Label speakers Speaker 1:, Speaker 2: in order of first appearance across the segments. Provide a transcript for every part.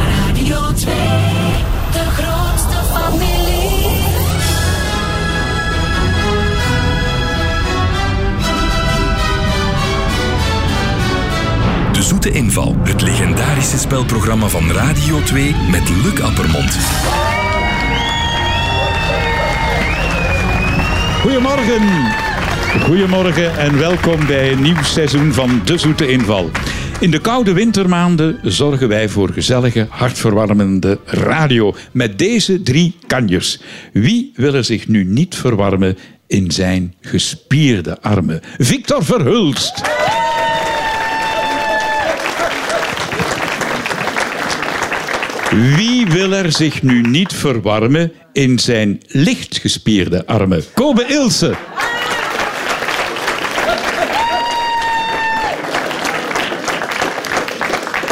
Speaker 1: Radio 2, de grootste familie.
Speaker 2: De Zoete Inval, het legendarische spelprogramma van Radio 2 met Luc Appermond.
Speaker 3: Goedemorgen. Goedemorgen en welkom bij een nieuw seizoen van De Zoete Inval. In de koude wintermaanden zorgen wij voor gezellige, hartverwarmende radio met deze drie kanjers. Wie wil er zich nu niet verwarmen in zijn gespierde armen? Victor Verhulst. Wie wil er zich nu niet verwarmen in zijn lichtgespierde armen? Kobe Ilse.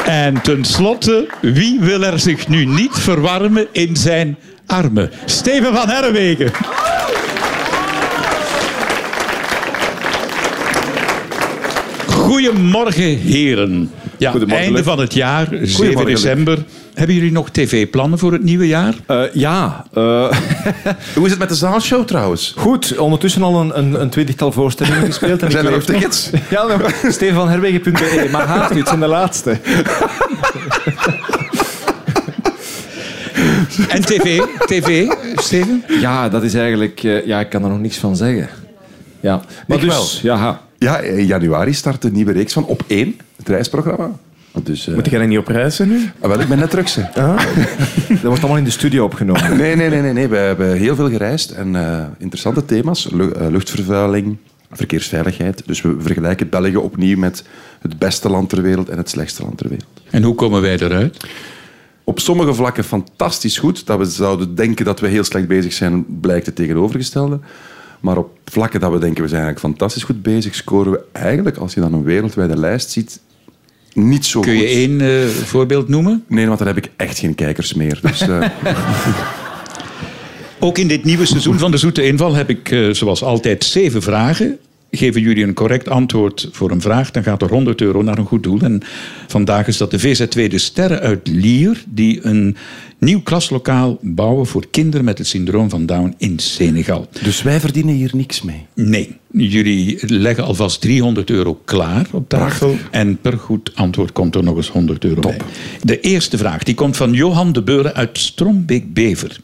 Speaker 3: En tenslotte, wie wil er zich nu niet verwarmen in zijn armen? Steven van Herwegen. Goedemorgen, heren. Ja,
Speaker 4: Goedemorgen,
Speaker 3: einde
Speaker 4: Luc.
Speaker 3: van het jaar, 7
Speaker 4: Goedemorgen,
Speaker 3: december. Hebben jullie nog tv-plannen voor het nieuwe jaar?
Speaker 4: Eh, ja. eh,
Speaker 5: Hoe is het met de zaalshow trouwens?
Speaker 4: goed, ondertussen al een, een, een twintigtal voorstellingen gespeeld. En
Speaker 5: Zijn
Speaker 4: ik
Speaker 5: er nog
Speaker 4: leef nog.
Speaker 5: tickets?
Speaker 4: Ja, nog. stefanherwegen.be. Maar haast u, het zijn de laatste.
Speaker 3: En tv? TV, Steven?
Speaker 4: Ja, dat is eigenlijk... eh, ja, ik kan er nog niks van zeggen. Ja. Maar
Speaker 5: Ik
Speaker 4: dus... Ja, ha.
Speaker 5: Ja, in januari start een nieuwe reeks van Op 1, het reisprogramma. Dus, eh,
Speaker 6: Moet jij dan niet op reizen nu?
Speaker 5: ah, wel, ik ben net terug. ze.
Speaker 4: dat wordt allemaal in de studio opgenomen.
Speaker 5: Nee, nee, nee, nee, nee. We hebben heel veel gereisd en eh, interessante thema's. Lu- eh, luchtvervuiling, verkeersveiligheid. Dus we vergelijken België opnieuw met het beste land ter wereld en het slechtste land ter wereld.
Speaker 3: En hoe komen wij eruit?
Speaker 5: Op sommige vlakken fantastisch goed. Dat we zouden denken dat we heel slecht bezig zijn, blijkt het tegenovergestelde. Maar op vlakken dat we denken we zijn eigenlijk fantastisch goed bezig, scoren we eigenlijk, als je dan een wereldwijde lijst ziet, niet zo
Speaker 3: Kun
Speaker 5: goed.
Speaker 3: je één eh, voorbeeld noemen?
Speaker 5: Nee, want dan heb ik echt geen kijkers meer. Dus, eh,
Speaker 3: Ook in dit nieuwe seizoen van de Zoete Inval heb ik, eh, zoals altijd, zeven vragen. Geven jullie een correct antwoord voor een vraag, dan gaat er 100 euro naar een goed doel. En vandaag is dat de VZ2 De Sterren uit Lier, die een nieuw klaslokaal bouwen voor kinderen met het syndroom van Down in Senegal.
Speaker 5: dus wij verdienen hier niks mee.
Speaker 3: Nee, jullie leggen alvast 300 euro klaar op tafel. En per goed antwoord komt er nog eens 100 euro bij. De eerste vraag die komt van Johan de Beuren uit Strombeek-Bever.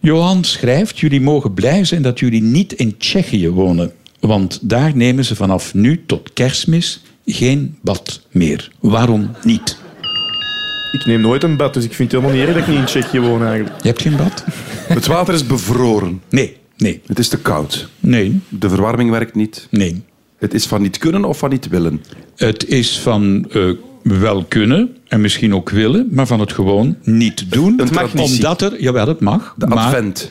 Speaker 3: Johan schrijft: Jullie mogen blij zijn dat jullie niet in Tsjechië wonen. Want daar nemen ze vanaf nu tot kerstmis geen bad meer. Waarom niet?
Speaker 6: Ik neem nooit een bad, dus ik vind het helemaal niet erg dat ik niet in Tsjechië woon eigenlijk.
Speaker 3: Je hebt geen bad?
Speaker 5: Het water is bevroren.
Speaker 3: Nee, nee,
Speaker 5: Het is te koud.
Speaker 3: nee,
Speaker 5: De verwarming werkt niet.
Speaker 3: nee.
Speaker 5: Het is van niet kunnen of van niet willen.
Speaker 3: Het is van eh, wel kunnen en misschien ook willen, maar van het gewoon niet doen.
Speaker 5: Het mag niet,
Speaker 3: omdat er, jawel, het mag.
Speaker 5: De
Speaker 3: maar,
Speaker 5: advent.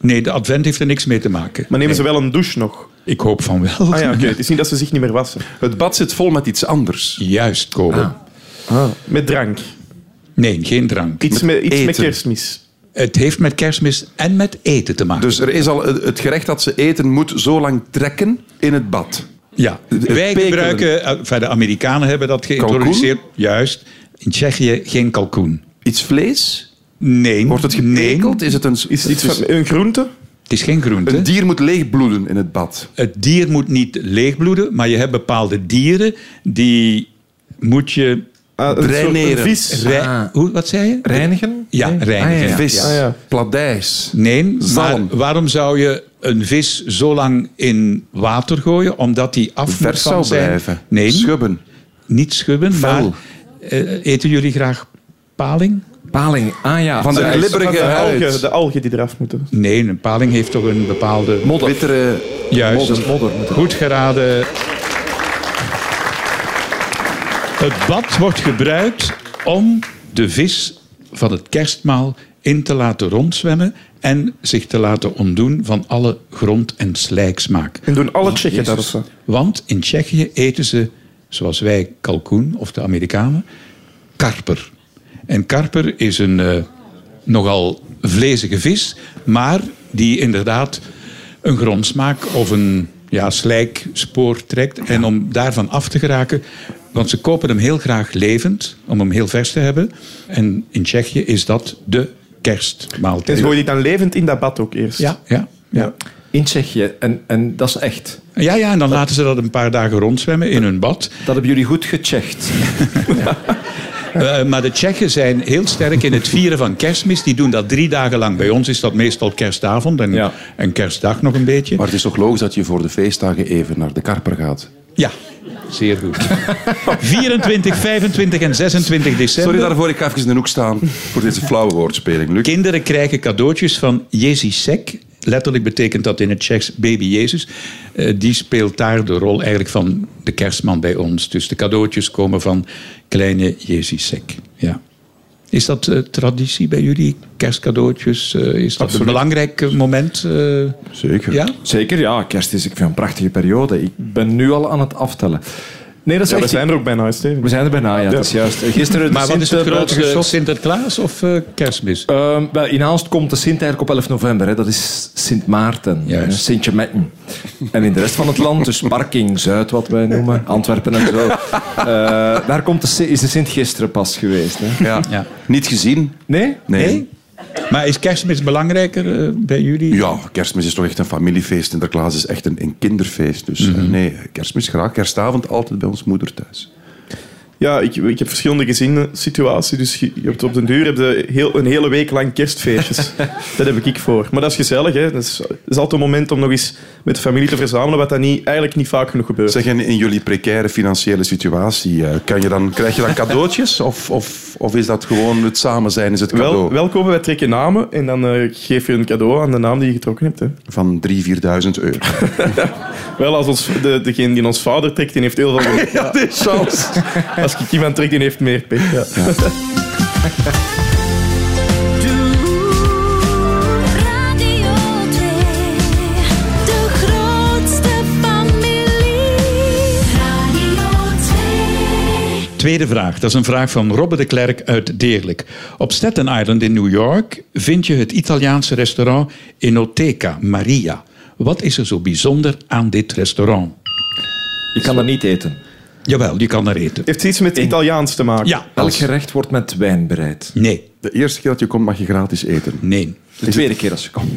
Speaker 3: Nee, de advent heeft er niks mee te maken.
Speaker 6: Maar nemen ze wel een douche nog?
Speaker 3: Ik hoop van wel.
Speaker 6: Ah ja, oké. Het is niet dat ze zich niet meer wassen.
Speaker 5: Het bad zit vol met iets anders.
Speaker 3: Juist komen.
Speaker 5: Ah.
Speaker 6: Met drank.
Speaker 3: Nee, geen drank.
Speaker 6: Iets, met, iets met
Speaker 5: eten.
Speaker 6: kerstmis.
Speaker 3: Het heeft met kerstmis en met eten te maken.
Speaker 5: Dus er is al het gerecht dat ze eten moet zo lang trekken in het bad.
Speaker 3: ja.
Speaker 5: het
Speaker 3: Wij
Speaker 5: pekelen.
Speaker 3: gebruiken, eh, enfin, de Amerikanen hebben dat geïntroduceerd. Juist. In Tsjechië geen kalkoen.
Speaker 5: Iets vlees?
Speaker 3: Nee.
Speaker 5: Wordt het gepekeld?
Speaker 3: Nee,
Speaker 5: Is het een,
Speaker 6: Is het
Speaker 5: het
Speaker 6: iets van een groente?
Speaker 3: het is geen groente.
Speaker 5: een dier moet leegbloeden in het bad.
Speaker 3: Het dier moet niet leegbloeden, maar je hebt bepaalde dieren die moet je.
Speaker 6: Ah, een soort- een
Speaker 5: Draineren.
Speaker 6: vis.
Speaker 3: Rei- Hoe, wat zei je?
Speaker 4: Reinigen?
Speaker 3: Ja, reinigen. ja.
Speaker 5: Vis,
Speaker 6: Ah, ja.
Speaker 5: pladijs.
Speaker 3: Nee,
Speaker 5: Zalm.
Speaker 3: maar waarom zou je een vis zo lang in water gooien? Omdat die af moet
Speaker 5: Vers
Speaker 3: kan
Speaker 5: zou
Speaker 3: zijn.
Speaker 5: blijven.
Speaker 3: Nee,
Speaker 5: Schubben.
Speaker 3: niet schubben,
Speaker 5: Vuil.
Speaker 3: maar eh, eten jullie graag paling?
Speaker 4: Paling. Ah ja.
Speaker 5: Van de
Speaker 4: Zij-
Speaker 5: glibberige
Speaker 6: eh, de, algen,
Speaker 5: huid.
Speaker 6: de algen die eraf moeten.
Speaker 3: Nee, een paling heeft toch een bepaalde...
Speaker 5: Modder. Wittere
Speaker 3: Juist.
Speaker 5: modder.
Speaker 3: Goed geraden. Het bad wordt gebruikt om de vis van het kerstmaal in te laten rondzwemmen en zich te laten ontdoen van alle grond- en slijksmaak.
Speaker 6: En doen alle Tsjechen dat of zo.
Speaker 3: Want in Tsjechië eten ze, zoals wij kalkoen of de Amerikanen, karper. En karper is een eh, nogal vlezige vis, maar die inderdaad een grondsmaak of een ja, slijkspoor trekt. En om daarvan af te geraken, Want ze kopen hem heel graag levend, om hem heel vers te hebben. En in Tsjechië is dat de
Speaker 6: En
Speaker 3: kerstmaaltijd.
Speaker 6: ze gooien die dan levend in dat bad ook eerst.
Speaker 3: Ja, ja, ja.
Speaker 4: In Tsjechië. En, en dat is echt.
Speaker 3: Ja, ja, en dan laten ze dat een paar dagen rondzwemmen in hun bad.
Speaker 4: Dat hebben jullie goed gecheckt.
Speaker 3: Eh, maar de Tsjechen zijn heel sterk in het vieren van kerstmis. Die doen dat drie dagen lang. Bij ons is dat meestal kerstavond en,
Speaker 4: Ja.
Speaker 3: en kerstdag nog een beetje.
Speaker 5: Maar het is toch logisch dat je voor de feestdagen even naar de karper gaat?
Speaker 3: Ja, zeer goed. 24, 25 en 26 december.
Speaker 5: Sorry daarvoor, ik ga even in de hoek staan voor deze flauwe woordspeling, Luc.
Speaker 3: Kinderen krijgen cadeautjes van Jezisek. Letterlijk betekent dat in het Tsjechs baby Jezus. Eh, die speelt daar de rol eigenlijk van de kerstman bij ons. Dus de cadeautjes komen van kleine Jezisek. Ja. Is dat eh, traditie bij jullie? Kerstcadeautjes? Eh, is dat een belangrijk eh, moment? eh?
Speaker 5: Zeker.
Speaker 3: ja?
Speaker 4: Zeker, ja. Kerst is ik vind, een prachtige periode. Ik ben nu al aan het aftellen. Nee, dat is
Speaker 6: Ja,
Speaker 4: echt...
Speaker 6: we zijn er ook bijna, hè, Steven.
Speaker 4: We zijn er bijna, ja. Dat is juist. Gisteren de
Speaker 3: Maar wat
Speaker 4: Sint,
Speaker 3: is het
Speaker 4: eh, buiten
Speaker 3: grootste?
Speaker 4: geschopt.
Speaker 3: Sinterklaas of eh, kerstmis?
Speaker 4: Ehm, wel, in Aalst komt de Sint eigenlijk op 11 november. Hè. Dat is Sint Maarten,
Speaker 3: Juist.
Speaker 4: hè, Sintje Metten. En in de rest van het land, dus Parking Zuid, wat wij noemen, Antwerpen en zo. eh, daar komt de, Sint- is de Sint gisteren pas geweest. Hè.
Speaker 5: Ja.
Speaker 3: Ja.
Speaker 5: Niet gezien?
Speaker 4: Nee?
Speaker 5: Nee.
Speaker 3: Maar is kerstmis belangrijker eh, bij jullie?
Speaker 5: Ja, kerstmis is toch echt een familiefeest. Sinterklaas is echt een, een kinderfeest. Dus eh, nee, kerstmis graag. Kerstavond altijd bij ons moeder thuis.
Speaker 6: Ja, ik, ik heb verschillende gezinssituaties. Dus je, je hebt op den duur heb je heel, een hele week lang kerstfeestjes. dat heb ik voor. Maar dat is gezellig. Hè? Dat, is, dat is altijd een moment om nog eens met de familie te verzamelen, wat dat niet, eigenlijk niet vaak genoeg gebeurt.
Speaker 5: Zeg, en in jullie precaire financiële situatie, eh, kan je dan, krijg je dan cadeautjes? Of, of, of is dat gewoon het samen zijn, is het cadeau?
Speaker 6: Wel, wel komen wij trekken namen en dan eh, geef je een cadeau aan de naam die je getrokken hebt. Hè.
Speaker 5: Van 3.000, 4.000 euro.
Speaker 6: Wel, als ons, de, degene die ons vader trekt, die heeft heel veel... ja, de chance. Als ik iemand trek, die heeft meer pech. Ja.
Speaker 1: Radio 2, de grootste familie. Radio 2.
Speaker 3: Tweede vraag. Dat is een vraag van Robbe de Klerk uit Deerlijk. Op Staten Island in New York vind je het Italiaanse restaurant Enoteca Maria. Wat is er zo bijzonder aan dit restaurant?
Speaker 4: Ik kan dat niet eten.
Speaker 3: Jawel, je kan er eten.
Speaker 6: Heeft het iets met Italiaans te maken?
Speaker 3: Ja.
Speaker 4: Elk gerecht wordt met wijn bereid.
Speaker 3: Nee.
Speaker 5: De eerste keer dat je komt mag je gratis eten.
Speaker 3: Nee.
Speaker 4: De tweede keer als je komt.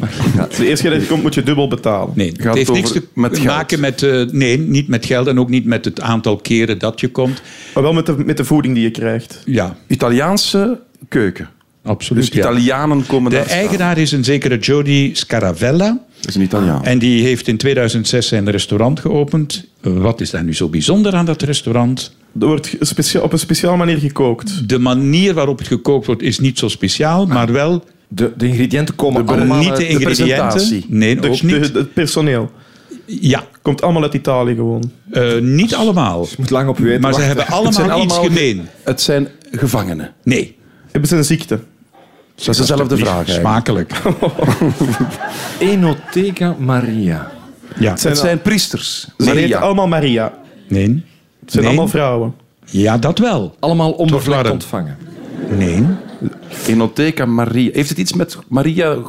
Speaker 6: De eerste keer dat je komt, moet je dubbel betalen.
Speaker 3: Nee, het
Speaker 5: het
Speaker 3: heeft
Speaker 5: over
Speaker 3: niks te
Speaker 5: met geld?
Speaker 3: maken met... eh, nee, niet met geld en ook niet met het aantal keren dat je komt.
Speaker 6: Maar wel met de, met de voeding die je krijgt.
Speaker 3: Ja,
Speaker 5: Italiaanse keuken.
Speaker 3: absoluut.
Speaker 5: Dus
Speaker 3: ja.
Speaker 5: Italianen komen
Speaker 3: De
Speaker 5: daar staan.
Speaker 3: eigenaar is een zekere Jody Scaravella.
Speaker 5: Dat is een Italiaan.
Speaker 3: En die heeft in 2006 zijn restaurant geopend. Wat is daar nu zo bijzonder aan dat restaurant?
Speaker 6: Er wordt ge- specia- op een speciaal manier gekookt.
Speaker 3: De manier waarop het gekookt wordt is niet zo speciaal, maar wel
Speaker 4: De, de ingrediënten komen allemaal... eh,
Speaker 3: niet de
Speaker 4: uit-
Speaker 3: ingrediënten.
Speaker 5: presentatie.
Speaker 3: Nee,
Speaker 6: De,
Speaker 3: ook
Speaker 6: Dus de-
Speaker 3: niet.
Speaker 6: het personeel
Speaker 3: Ja,
Speaker 6: komt allemaal uit Italië gewoon.
Speaker 3: eh, niet allemaal.
Speaker 4: Je moet lang op weten.
Speaker 3: Maar ze
Speaker 4: wachten.
Speaker 3: hebben
Speaker 5: Het zijn
Speaker 3: allemaal, iets
Speaker 5: allemaal-
Speaker 3: gemeen.
Speaker 5: Het zijn gevangenen.
Speaker 3: Nee,
Speaker 6: Hebben ze een ziekte?
Speaker 5: Dat is dezelfde
Speaker 3: niet
Speaker 5: vraag. eigenlijk.
Speaker 3: Smakelijk.
Speaker 4: Enoteca Maria.
Speaker 3: Ja.
Speaker 5: Het zijn priesters.
Speaker 6: Ze heten
Speaker 5: Maria.
Speaker 6: allemaal Maria.
Speaker 3: Nee.
Speaker 6: Het zijn
Speaker 3: Nee.
Speaker 6: allemaal vrouwen.
Speaker 3: Ja, dat wel.
Speaker 4: Allemaal onbevlekt
Speaker 3: warm.
Speaker 4: ontvangen.
Speaker 3: Nee.
Speaker 5: Enotheca Maria. Heeft het iets met Maria eh,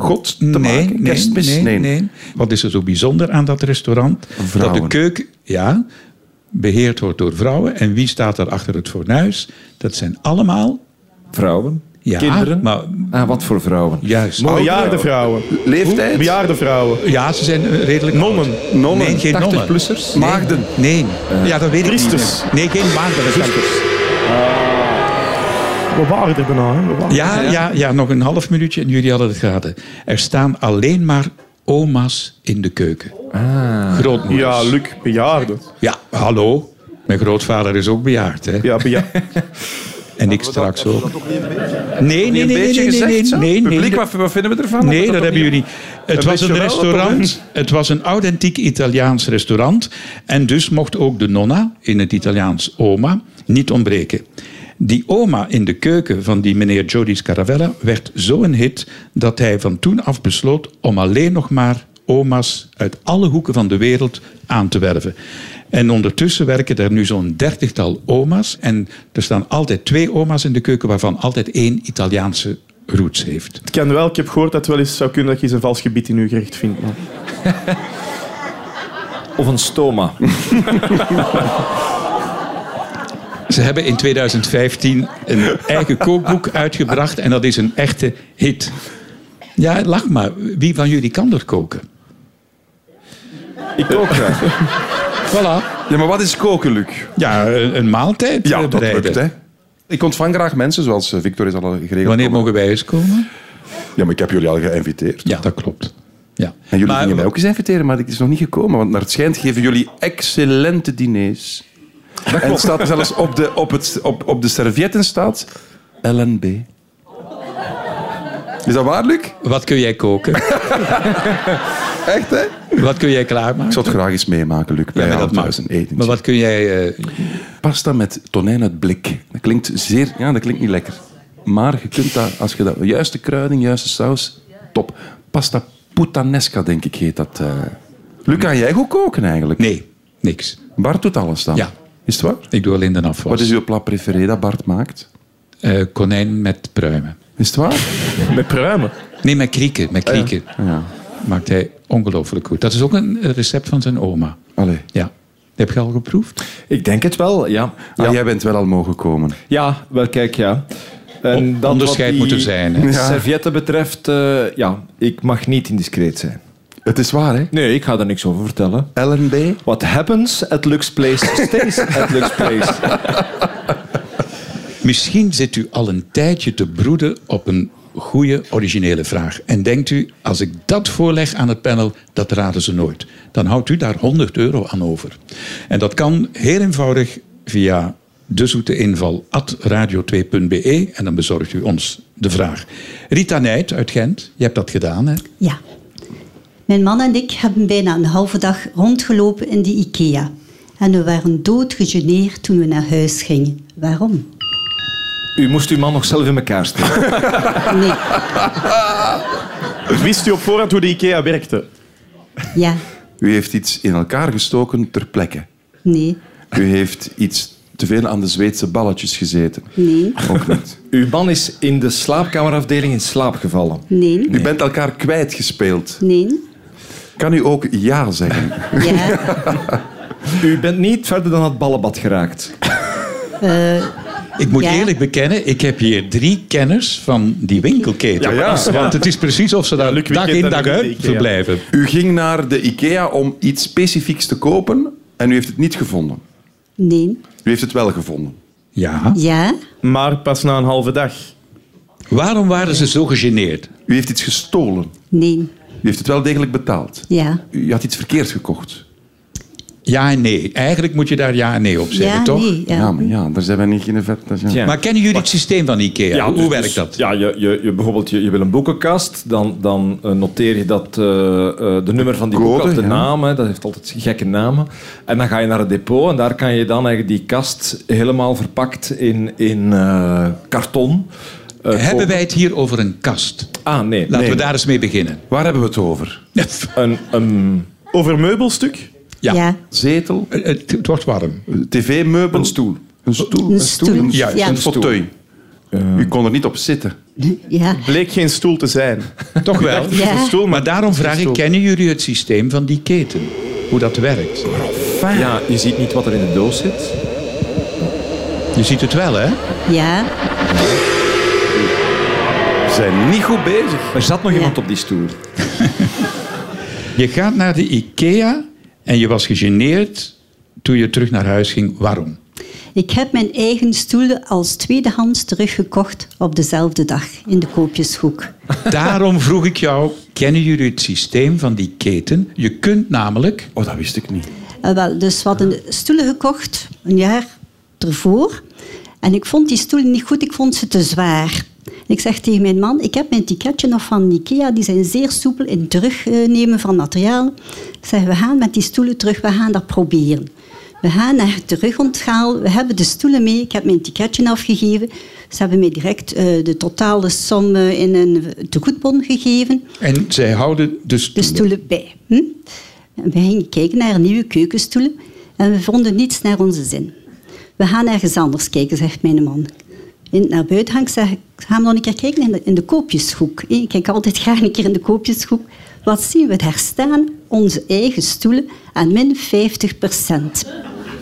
Speaker 5: God te
Speaker 3: nee,
Speaker 5: maken?
Speaker 3: nee,
Speaker 5: Kerstmis?
Speaker 3: nee, nee, Wat is er zo bijzonder aan dat restaurant?
Speaker 5: Vrouwen.
Speaker 3: Dat de keuken ja, beheerd wordt door vrouwen. En wie staat daar achter het fornuis? Dat zijn allemaal
Speaker 4: Vrouwen.
Speaker 3: ja,
Speaker 4: Kinderen.
Speaker 3: Maar
Speaker 4: Ah, wat voor vrouwen?
Speaker 3: juist.
Speaker 6: Bejaarde vrouwen.
Speaker 5: Leeftijd?
Speaker 6: Bejaarde vrouwen.
Speaker 3: Ja, ze zijn eh, redelijk
Speaker 6: Nonnen.
Speaker 3: oud. Nee, geen nonnen.
Speaker 4: 80-plussers?
Speaker 3: Nee.
Speaker 5: Maagden.
Speaker 3: Nee. ja, dat weet ik
Speaker 6: priesters.
Speaker 3: niet. Nee, geen maagden. dat kan ik.
Speaker 6: We waren er bijna. hè. We waren-
Speaker 3: Ja, ja, ja, nog een half minuutje en jullie hadden het gehad. Er staan alleen maar oma's in de keuken. Grootmoeders.
Speaker 6: Ja, Luc, bejaarde.
Speaker 3: Ja, hallo. Mijn grootvader is ook bejaard, hè?
Speaker 6: Ja, beja
Speaker 3: En ik straks ook. Nee, nee, nee, nee,
Speaker 5: Een beetje
Speaker 3: nee, nee,
Speaker 5: gezegd
Speaker 3: nee,
Speaker 5: zo?
Speaker 3: nee, nee,
Speaker 5: Publiek,
Speaker 3: nee.
Speaker 5: wat, wat vinden we ervan?
Speaker 3: Nee, dat, hebben jullie. Het was
Speaker 6: beetje
Speaker 3: een
Speaker 6: wel, dat
Speaker 3: restaurant. Het was een authentiek Italiaans restaurant. En dus mocht ook de nonna, in het Italiaans oma, niet ontbreken. Die oma in de keuken van die meneer Jody Scaravella werd zo'n hit dat hij van toen af besloot om alleen nog maar oma's uit alle hoeken van de wereld aan te werven. En ondertussen werken er nu zo'n dertigtal oma's. En er staan altijd twee oma's in de keuken, waarvan altijd één Italiaanse roots heeft.
Speaker 6: het kan wel. Ik heb gehoord dat het wel eens zou kunnen dat je eens een vals gebied in uw gerecht vindt. maar-
Speaker 4: Of een stoma.
Speaker 3: Ze hebben in 2015 een eigen kookboek uitgebracht en dat is een echte hit. Ja, lach maar. Wie van jullie kan er koken?
Speaker 5: Ik kook graag.
Speaker 3: Voilà.
Speaker 5: Ja, maar wat is koken, Luc?
Speaker 3: Ja, een, een maaltijd
Speaker 5: Ja,
Speaker 3: eh,
Speaker 5: dat
Speaker 3: bereiden.
Speaker 5: lukt, hè. Ik ontvang graag mensen, zoals eh, Victor is al geregeld.
Speaker 3: Wanneer mogen wij eens komen?
Speaker 5: Ja, maar ik heb jullie al geïnviteerd.
Speaker 3: Ja, dat klopt. Ja.
Speaker 5: En jullie
Speaker 3: Maar-
Speaker 5: gingen mij ook eens inviteren, maar het is nog niet gekomen. Want naar het schijnt geven jullie excellente diners. En het staat dus zelfs op de, op het, op, op de servietten staat LNB. Is dat waar, Luc?
Speaker 3: Wat kun jij koken?
Speaker 5: Echt, hè?
Speaker 3: Wat kun jij klaarmaken?
Speaker 5: Ik zou het graag eens meemaken, Luc. Bij
Speaker 3: maar dat
Speaker 5: jou
Speaker 3: mag.
Speaker 5: thuis een etentje.
Speaker 3: Maar wat kun jij... eh,
Speaker 5: Pasta met tonijn uit blik. Dat klinkt zeer... Ja, dat klinkt niet lekker. Maar je kunt dat, als je dat... Juiste kruiding, juiste saus, top. Pasta puttanesca, denk ik, heet dat. eh. Luc, kan jij goed koken eigenlijk?
Speaker 3: nee, niks.
Speaker 5: Bart doet alles dan?
Speaker 3: Ja.
Speaker 5: Is het waar?
Speaker 3: Ik doe alleen de
Speaker 5: Wat
Speaker 3: afwas.
Speaker 5: is uw plat preferé dat Bart maakt?
Speaker 3: Eh, konijn met pruimen.
Speaker 5: Is het waar?
Speaker 6: Met pruimen.
Speaker 3: Nee, met krieken.
Speaker 4: Oh
Speaker 3: Met krieken.
Speaker 5: Ja.
Speaker 3: Maakt hij ongelooflijk goed. Dat is ook een eh, recept van zijn oma.
Speaker 5: Allee.
Speaker 3: Ja. Heb je al geproefd?
Speaker 4: Ik denk het wel, ja. Ja,
Speaker 5: Ah, jij bent wel al mogen komen.
Speaker 4: Ja, wel kijk, ja. En
Speaker 3: Op-
Speaker 4: dan
Speaker 3: onderscheid
Speaker 4: wat die
Speaker 3: moet er zijn, hè.
Speaker 4: Ja. Servietten betreft, eh, ja, ik mag niet indiscreet zijn.
Speaker 5: Het is waar, hè?
Speaker 4: Nee, ik ga daar niks over vertellen.
Speaker 5: LNB?
Speaker 4: What happens at Lux Place stays at Lux Place.
Speaker 3: Misschien zit u al een tijdje te broeden op een goede originele vraag. En denkt u, als ik dat voorleg aan het panel, dat raden ze nooit. Dan houdt u daar 100 euro aan over. En dat kan heel eenvoudig via dezoeteinval.radio2.be en dan bezorgt u ons de vraag. Rita Nijt uit Gent, je hebt dat gedaan, hè?
Speaker 7: Ja. Mijn man en ik hebben bijna een halve dag rondgelopen in de IKEA. En we waren doodgegeneerd toen we naar huis gingen. Waarom?
Speaker 4: U moest uw man nog zelf in elkaar steken.
Speaker 7: Nee.
Speaker 6: Wist u op voorhand hoe de IKEA werkte?
Speaker 7: Ja.
Speaker 5: U heeft iets in elkaar gestoken ter plekke.
Speaker 7: Nee.
Speaker 5: U heeft iets te veel aan de Zweedse balletjes gezeten.
Speaker 7: Nee.
Speaker 5: Ook niet.
Speaker 4: Uw man is in de slaapkamerafdeling in slaap gevallen.
Speaker 7: Nee.
Speaker 5: U bent elkaar kwijtgespeeld.
Speaker 7: Nee.
Speaker 5: Kan u ook ja zeggen?
Speaker 7: Ja.
Speaker 4: U bent niet verder dan het ballenbad geraakt.
Speaker 3: Ik moet
Speaker 7: Ja.
Speaker 3: eerlijk bekennen, ik heb hier drie kenners van die winkelketen. Want het is precies of ze daar
Speaker 6: Luc, wie
Speaker 3: dag
Speaker 6: kent
Speaker 3: in
Speaker 6: dat
Speaker 3: dag
Speaker 6: niet, de
Speaker 3: uit
Speaker 6: IKEA?
Speaker 3: verblijven.
Speaker 5: U ging naar de IKEA om iets specifieks te kopen en u heeft het niet gevonden.
Speaker 7: Nee.
Speaker 5: U heeft het wel gevonden.
Speaker 3: Ja.
Speaker 7: Ja.
Speaker 6: Maar pas na een halve dag.
Speaker 3: Waarom waren ze zo gegeneerd?
Speaker 5: U heeft iets gestolen.
Speaker 7: Nee.
Speaker 5: U heeft het wel degelijk betaald.
Speaker 7: Ja.
Speaker 5: U had iets verkeerd gekocht.
Speaker 3: Ja en nee. Eigenlijk moet je daar ja en nee op zeggen,
Speaker 7: Ja,
Speaker 3: toch?
Speaker 7: nee.
Speaker 5: Ja,
Speaker 7: Ja.
Speaker 5: maar ja, daar zijn wij niet in vet. dat is ja.
Speaker 4: Tja.
Speaker 3: Maar kennen jullie het systeem van IKEA? Hoe
Speaker 4: dus-
Speaker 3: hoe werkt
Speaker 4: dus-
Speaker 3: dat?
Speaker 4: Ja, je, je, je, bijvoorbeeld, je, je wil een boekenkast, dan, dan eh, noteer je dat, eh, eh, de nummer van die
Speaker 5: Code,
Speaker 4: boekenkast, de
Speaker 5: ja.
Speaker 4: naam, hè, dat heeft altijd gekke namen. En dan ga je naar het depot en daar kan je dan eigenlijk die kast helemaal verpakt in, in eh, karton. eh,
Speaker 3: Hebben
Speaker 4: kopen.
Speaker 3: wij het hier over een kast?
Speaker 4: Ah, nee.
Speaker 3: Laten
Speaker 4: nee.
Speaker 3: we daar eens mee beginnen.
Speaker 5: Waar hebben we het over?
Speaker 4: Een, een,
Speaker 6: Over meubelstuk?
Speaker 3: Ja.
Speaker 7: Ja.
Speaker 5: Zetel,
Speaker 3: Eh, Het, het wordt warm.
Speaker 5: tv-meubel. Een stoel. Een stoel. Eh.
Speaker 7: Een stoel.
Speaker 5: Ja,
Speaker 7: Ja.
Speaker 5: een fauteuil. U kon er niet op zitten.
Speaker 7: Ja.
Speaker 6: Bleek geen stoel te zijn.
Speaker 3: Toch wel?
Speaker 7: Ja.
Speaker 6: Een stoel,
Speaker 3: Maar
Speaker 6: maar
Speaker 3: daarom vraag ik,
Speaker 6: Stoel.
Speaker 3: kennen jullie het systeem van die keten? Hoe dat werkt?
Speaker 4: ja, je ziet niet wat er in de doos zit.
Speaker 3: Je ziet het wel, hè?
Speaker 7: Ja.
Speaker 5: We zijn niet goed bezig.
Speaker 4: Er zat nog iemand op die stoel.
Speaker 3: Je gaat naar de IKEA en je was gegeneerd toen je terug naar huis ging. Waarom?
Speaker 7: Ik heb mijn eigen stoelen als tweedehands teruggekocht op dezelfde dag in de koopjeshoek.
Speaker 3: Daarom vroeg ik jou, kennen jullie het systeem van die keten? Je kunt namelijk
Speaker 5: Oh, dat wist ik niet.
Speaker 7: Eh, wel, dus we hadden stoelen gekocht, een jaar ervoor. En ik vond die stoelen niet goed, ik vond ze te zwaar. En ik zeg tegen mijn man, ik heb mijn ticketje nog van Ikea, die zijn zeer soepel in het terugnemen van materiaal. Ik zeg, we gaan met die stoelen terug, we gaan dat proberen. We gaan naar het terugonthaal, we hebben de stoelen mee, ik heb mijn ticketje afgegeven. Ze hebben mij direct eh, de totale som eh, in een tegoedbon gegeven
Speaker 3: En zij houden de
Speaker 7: de
Speaker 3: stoelen.
Speaker 7: stoelen bij. Hm? En We gingen kijken naar nieuwe keukenstoelen en we vonden niets naar onze zin. We gaan ergens anders kijken, zegt mijn man. In het naar buiten hangt, zeg ik, gaan we nog een keer kijken in de, in de koopjeshoek. Ik kijk altijd graag een keer in de koopjeshoek. Wat zien we daar staan? Onze eigen stoelen aan min 50 procent.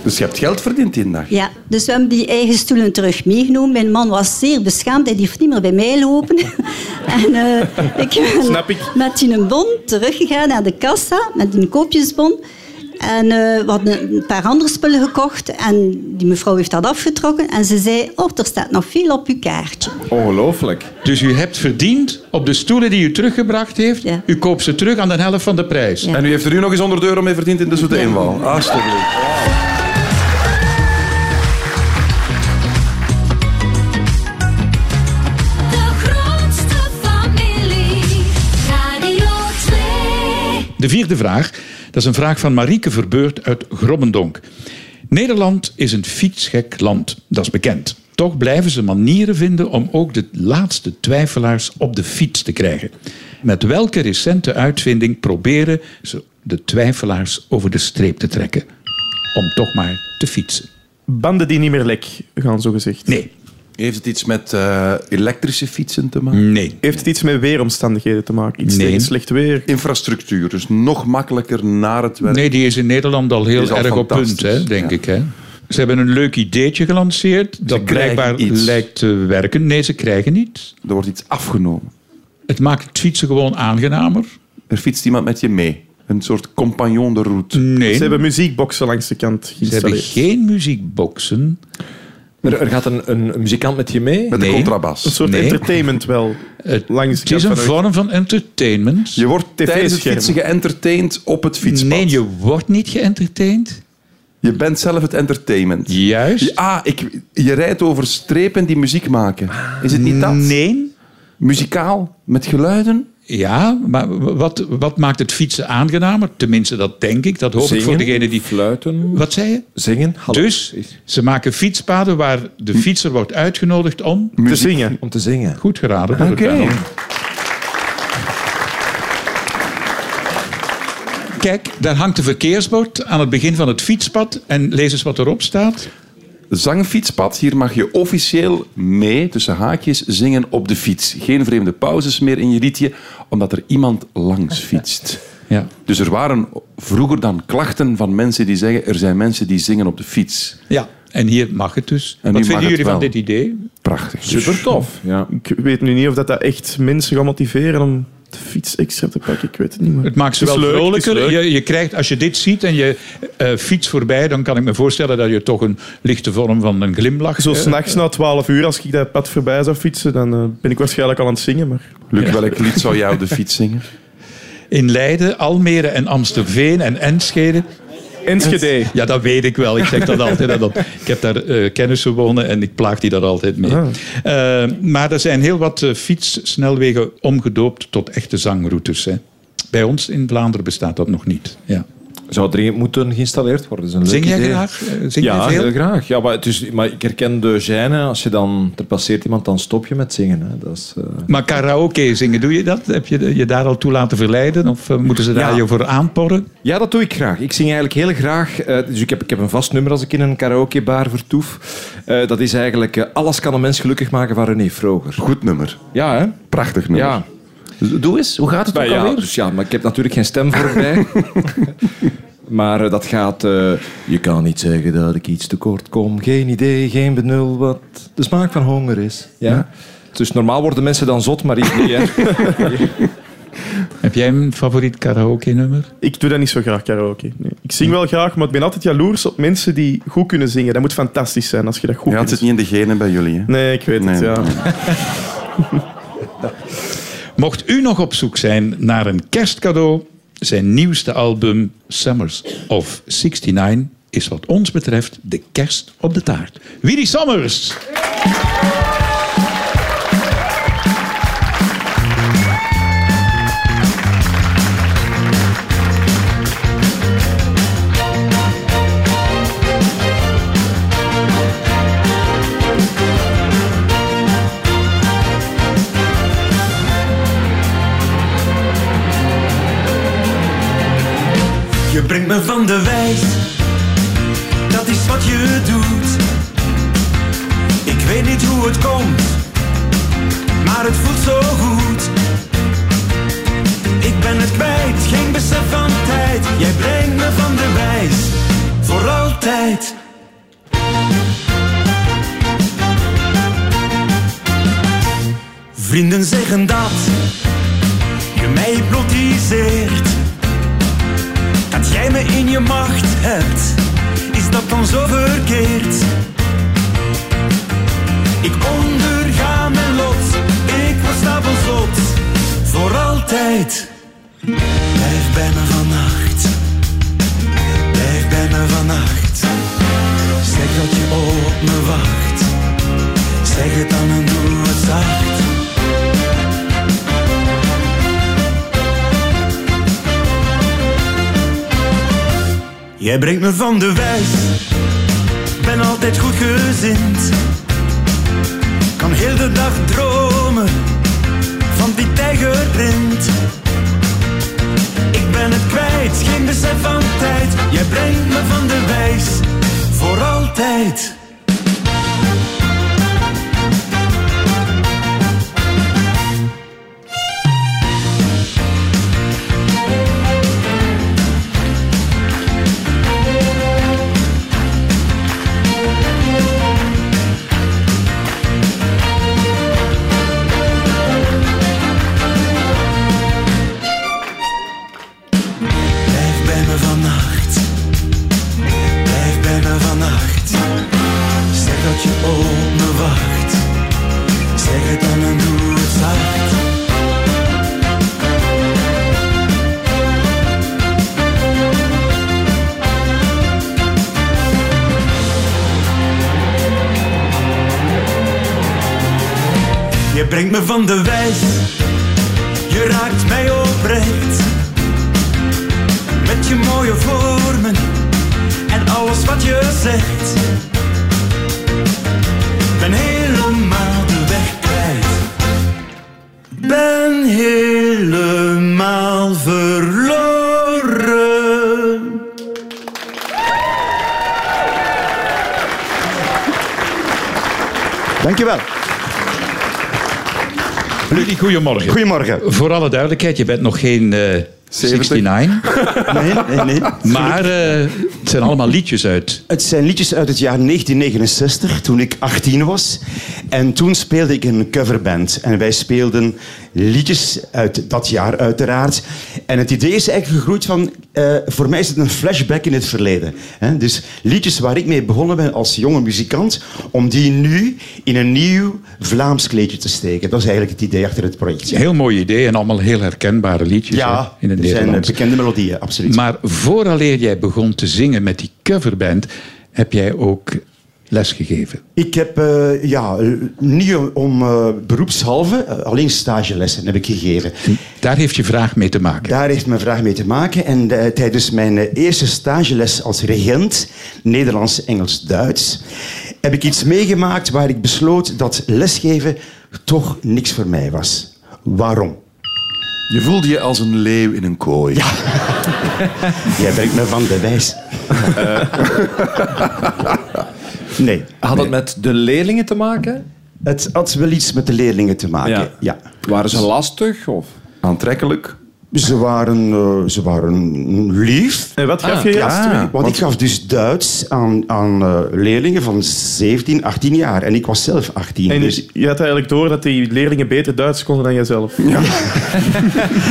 Speaker 5: Dus je hebt geld verdiend die dag.
Speaker 7: Ja, dus we hebben die eigen stoelen terug meegenomen. Mijn man was zeer beschaamd. Hij durfde niet meer bij mij lopen. en eh, ik ben
Speaker 6: Snap ik.
Speaker 7: met die bon teruggegaan naar de kassa, met een koopjesbon. En eh, we hadden een paar andere spullen gekocht. En die mevrouw heeft dat afgetrokken. En ze zei, oh, er staat nog veel op uw kaartje.
Speaker 4: Ongelooflijk.
Speaker 3: Dus u hebt verdiend op de stoelen die u teruggebracht heeft.
Speaker 7: Ja.
Speaker 3: U koopt ze terug aan de helft van de prijs.
Speaker 7: Ja.
Speaker 5: En u heeft er nu nog eens 100 euro mee verdiend in de zoete inval. Alsjeblieft.
Speaker 1: De grootste familie. Radio 2.
Speaker 3: De vierde vraag, dat is een vraag van Marieke Verbeurt uit Grobbendonk. Nederland is een fietsgek land, dat is bekend. Toch blijven ze manieren vinden om ook de laatste twijfelaars op de fiets te krijgen. Met welke recente uitvinding proberen ze de twijfelaars over de streep te trekken? Om toch maar te fietsen.
Speaker 6: Banden die niet meer lek gaan, zo gezegd.
Speaker 3: Nee,
Speaker 5: Heeft het iets met eh, elektrische fietsen te maken?
Speaker 3: nee.
Speaker 6: Heeft het iets met weeromstandigheden te maken? Iets
Speaker 3: Nee.
Speaker 6: tegen slecht weer?
Speaker 5: Infrastructuur, dus nog makkelijker naar het werk.
Speaker 3: Nee, die is in Nederland al heel
Speaker 5: Die is al
Speaker 3: erg op punt,
Speaker 5: fantastisch,
Speaker 3: hè, denk
Speaker 5: ja.
Speaker 3: ik. Hè. Ze hebben een leuk ideetje gelanceerd dat
Speaker 5: krijgen
Speaker 3: blijkbaar
Speaker 5: iets.
Speaker 3: lijkt te werken. Nee, ze krijgen niets.
Speaker 5: Er wordt iets afgenomen.
Speaker 3: Het maakt het fietsen gewoon aangenamer.
Speaker 5: Er fietst iemand met je mee. Een soort compagnon de route.
Speaker 3: Nee,
Speaker 6: Ze
Speaker 3: ze hebben,
Speaker 6: hebben muziekboxen langs de kant geïnstalleerd.
Speaker 3: geen muziekboxen.
Speaker 4: Er, er gaat een, een, een muzikant met je mee.
Speaker 5: Met
Speaker 3: Nee.
Speaker 5: de
Speaker 6: Een
Speaker 5: contrabas.
Speaker 6: soort
Speaker 3: Nee.
Speaker 6: entertainment wel.
Speaker 3: Het,
Speaker 6: Langs de
Speaker 3: het is
Speaker 6: kant
Speaker 3: een
Speaker 6: van de-
Speaker 3: vorm van entertainment.
Speaker 5: Je wordt tijdens het
Speaker 6: TV-scherm.
Speaker 5: fietsen geëntertaind op het fietspad.
Speaker 3: nee, je wordt niet geëntertaind.
Speaker 5: Je bent zelf het entertainment.
Speaker 3: Juist.
Speaker 5: Je- Ah, ik, je rijdt over strepen die muziek maken. Is het niet dat?
Speaker 3: Nee.
Speaker 5: Muzikaal, met geluiden.
Speaker 3: Ja, maar wat, wat maakt het fietsen aangenamer? Tenminste, dat denk ik. Dat hoop ik voor degene die...
Speaker 4: fluiten,
Speaker 3: Wat zei je?
Speaker 4: zingen. Hallo.
Speaker 3: Dus ze maken fietspaden waar de fietser wordt uitgenodigd om...
Speaker 6: Te zingen.
Speaker 4: Om te zingen.
Speaker 3: Goed geraden. door het
Speaker 5: Oké.
Speaker 3: panel. Kijk, daar hangt een verkeersbord aan het begin van het fietspad. En lees eens wat erop staat.
Speaker 5: Zangfietspad, hier mag je officieel mee, tussen haakjes, zingen op de fiets. Geen vreemde pauzes meer in je liedje, omdat er iemand langs fietst.
Speaker 3: Ja.
Speaker 5: Dus er waren vroeger dan klachten van mensen die zeggen er zijn mensen die zingen op de fiets.
Speaker 3: ja. En hier mag het dus.
Speaker 5: En
Speaker 3: wat
Speaker 5: nu mag
Speaker 3: vinden
Speaker 5: het
Speaker 3: jullie van
Speaker 5: wel.
Speaker 3: dit idee?
Speaker 5: Prachtig. Dus,
Speaker 4: Super tof. Ja.
Speaker 6: Ik weet nu niet of dat, dat echt mensen gaat motiveren om de fiets extra te pakken. Ik weet het niet meer.
Speaker 3: Het maakt ze
Speaker 6: Het
Speaker 3: wel
Speaker 6: is leuk, het is
Speaker 3: vrolijker.
Speaker 6: leuk.
Speaker 3: Je, je krijgt, als je dit ziet en je eh, fiets voorbij, dan kan ik me voorstellen dat je toch een lichte vorm van een glimlach...
Speaker 6: Zo
Speaker 3: eh,
Speaker 6: s'nachts na 12 uur, als ik dat pad voorbij zou fietsen, dan eh, ben ik waarschijnlijk al aan het zingen. Maar
Speaker 5: Luc, welk lied zou jij op de fiets zingen?
Speaker 3: in Leiden, Almere en Amstelveen en Enschede
Speaker 6: Enschede.
Speaker 3: Ja, dat weet ik wel. Ik zeg dat altijd. Dat, dat- ik heb daar eh, kennissen wonen en ik plaag die daar altijd mee.
Speaker 4: Ah.
Speaker 3: Eh, maar er zijn heel wat eh, fietssnelwegen omgedoopt tot echte zangroutes. Hè. Bij ons in Vlaanderen bestaat dat nog niet. Ja.
Speaker 4: Zou dringend moeten geïnstalleerd worden. Dat is een leuk
Speaker 3: Zing jij
Speaker 4: idee.
Speaker 3: graag? Eh, Zing
Speaker 4: Ja,
Speaker 3: jij
Speaker 4: heel
Speaker 3: veel?
Speaker 4: graag. Ja, maar, het is, maar ik herken de gêne. Als je dan, er passeert iemand, dan stop je met zingen. Hè. Dat is, eh,
Speaker 3: Maar karaoke zingen, doe je dat? Heb je je daar al toe laten verleiden? Of eh, moeten ze daar
Speaker 4: Ja.
Speaker 3: je voor aanporren?
Speaker 4: Ja, dat doe ik graag. Ik zing eigenlijk heel graag. eh, dus ik heb, ik heb een vast nummer als ik in een karaokebar vertoef. Eh, dat is eigenlijk eh, Alles kan een mens gelukkig maken van René Vroger.
Speaker 5: Goed nummer.
Speaker 4: Ja, hè?
Speaker 5: Prachtig nummer.
Speaker 4: Ja.
Speaker 5: Doe eens, hoe gaat het
Speaker 4: Maar
Speaker 5: ook
Speaker 4: ja,
Speaker 5: alweer?
Speaker 4: dus ja, maar ik heb natuurlijk geen stem voorbij. maar eh, dat gaat... eh, je kan niet zeggen dat ik iets tekort kom. Geen idee, geen benul wat de smaak van honger is. Ja? Dus normaal worden mensen dan zot, maar ik niet. Hè?
Speaker 3: Heb jij een favoriet karaoke-nummer?
Speaker 6: Ik doe dat niet zo graag, karaoke. Nee. Ik zing wel graag, maar ik ben altijd jaloers op mensen die goed kunnen zingen. Dat moet fantastisch zijn als je dat goed
Speaker 5: Ja, het
Speaker 6: kunt.
Speaker 5: zit niet in de genen bij jullie. Hè?
Speaker 6: Nee, ik weet het,
Speaker 5: Nee.
Speaker 6: ja.
Speaker 3: Mocht u nog op zoek zijn naar een kerstcadeau, zijn nieuwste album Summers of 69 is wat ons betreft de kerst op de taart. Willy Summers!
Speaker 8: Je brengt me van de wijs, dat is wat je doet. Ik weet niet hoe het komt, maar het voelt zo goed. Ik ben het kwijt, geen besef van tijd. Jij brengt me van de wijs, voor altijd. Vrienden zeggen dat je mij hypnotiseert. Dat jij me in je macht hebt, is dat dan zo verkeerd? Ik onderga mijn lot, ik word stapelzot, voor altijd. Blijf bij me vannacht, blijf bij me vannacht. Zeg dat je op me wacht, zeg het dan en doe het zacht. Jij brengt me van de wijs, ben altijd goed gezind. Kan heel de dag dromen van die tijgerprint. Ik ben het kwijt, geen besef van tijd. Jij brengt me van de wijs, voor altijd. Blijf bij me vannacht. Blijf bij me vannacht. Zeg dat je op me wacht. Zeg het dan en doe het zacht. Je brengt me van de wijs, je raakt mij oprecht met je mooie vormen en alles wat je zegt. Ben helemaal de weg kwijt. Ben helemaal verloren.
Speaker 9: Dankjewel.
Speaker 3: Ludie, goedemorgen.
Speaker 9: Goedemorgen.
Speaker 3: Voor alle duidelijkheid, je bent nog geen eh 69,
Speaker 9: Nee, nee, nee.
Speaker 3: maar eh, het zijn allemaal liedjes uit.
Speaker 9: Het zijn liedjes uit het jaar 1969, toen ik 18 was. En toen speelde ik in een coverband. En wij speelden liedjes uit dat jaar, uiteraard. En het idee is eigenlijk gegroeid van... eh, voor mij is het een flashback in het verleden. hè. Dus liedjes waar ik mee begonnen ben als jonge muzikant... om die nu in een nieuw Vlaams kleedje te steken. Dat is eigenlijk het idee achter het project. Ja,
Speaker 3: Heel mooi idee en allemaal heel herkenbare liedjes
Speaker 9: ja
Speaker 3: hè, in het
Speaker 9: er zijn eh,
Speaker 3: Nederlands.
Speaker 9: bekende melodieën, absoluut.
Speaker 3: Maar vooraleer jij begon te zingen met die coverband, heb jij ook lesgegeven.
Speaker 9: Ik heb, eh, ja, eh, niet om eh, beroepshalve, eh, alleen stagelessen heb ik gegeven.
Speaker 3: Daar heeft je vraag mee te maken.
Speaker 9: Daar heeft mijn vraag mee te maken. En eh, tijdens mijn eh, eerste stageles als regent, Nederlands, Engels, Duits, heb ik iets meegemaakt waar ik besloot dat lesgeven toch niks voor mij was. Waarom?
Speaker 5: Je voelde je als een leeuw in een kooi.
Speaker 9: Jij brengt me van de wijs. nee.
Speaker 4: Had dat met de leerlingen te maken?
Speaker 9: Het had wel iets met de leerlingen te maken.
Speaker 4: Ja.
Speaker 9: ja.
Speaker 4: Waren ze lastig? Of?
Speaker 5: Aantrekkelijk.
Speaker 9: Ze waren, eh, ze waren lief.
Speaker 6: En wat gaf je je als tweede?
Speaker 9: Want ik gaf dus Duits aan, aan eh, leerlingen van 17, 18 jaar. En ik was zelf 18.
Speaker 6: En
Speaker 9: dus
Speaker 6: je had eigenlijk door dat die leerlingen beter Duits konden dan jijzelf. Ja.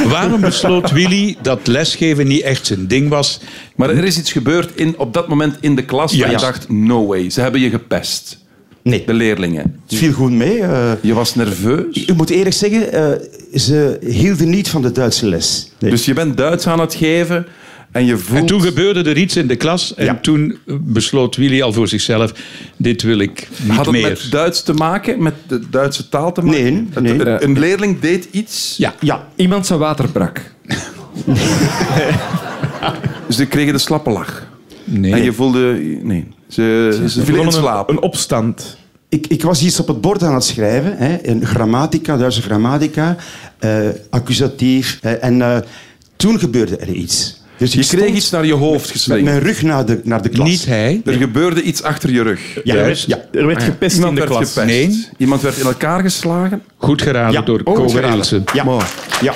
Speaker 3: Waarom besloot Willy dat lesgeven niet echt zijn ding was?
Speaker 5: Maar er is iets gebeurd in, op dat moment in de klas waar je
Speaker 9: Juist.
Speaker 5: dacht, no way, ze hebben je gepest.
Speaker 9: nee,
Speaker 5: De leerlingen.
Speaker 9: het viel goed mee. eh.
Speaker 5: Je was nerveus.
Speaker 9: ik moet eerlijk zeggen, eh, ze hielden niet van de Duitse les. Nee.
Speaker 5: Dus je bent Duits aan het geven en je voelt...
Speaker 3: En toen gebeurde er iets in de klas en
Speaker 9: Ja.
Speaker 3: toen besloot Willy al voor zichzelf, dit wil ik niet
Speaker 5: Had het
Speaker 3: meer.
Speaker 5: met Duits te maken? Met de Duitse taal te maken?
Speaker 9: Nee,
Speaker 5: Het-
Speaker 9: nee.
Speaker 5: het- Een leerling deed iets.
Speaker 3: Ja,
Speaker 9: ja,
Speaker 4: Iemand zijn water brak.
Speaker 5: dus Ze kregen de slappe lach.
Speaker 3: nee.
Speaker 5: En je voelde... Nee. Ze, ze vielen in slaap.
Speaker 6: Een, een opstand.
Speaker 9: ik, ik was iets op het bord aan het schrijven. Hè, in grammatica, Duitse grammatica, eh, accusatief. eh, en eh, toen gebeurde er iets. Dus ik
Speaker 5: Je kreeg
Speaker 9: stond
Speaker 5: iets naar je hoofd
Speaker 9: met
Speaker 5: geslingerd.
Speaker 9: mijn rug naar de, naar de klas.
Speaker 3: niet hij.
Speaker 5: Er gebeurde iets achter je rug.
Speaker 9: Ja,
Speaker 3: Juist.
Speaker 9: ja.
Speaker 6: Er werd gepest in
Speaker 5: Iemand
Speaker 6: de
Speaker 5: werd
Speaker 6: klas.
Speaker 5: gepest.
Speaker 3: Nee.
Speaker 5: Iemand werd in elkaar geslagen.
Speaker 3: Goed geraden
Speaker 9: Ja.
Speaker 3: door
Speaker 9: Oh,
Speaker 3: Kobe
Speaker 9: geraden.
Speaker 3: Nielsen.
Speaker 9: Ja.
Speaker 5: Mooi.
Speaker 9: Ja.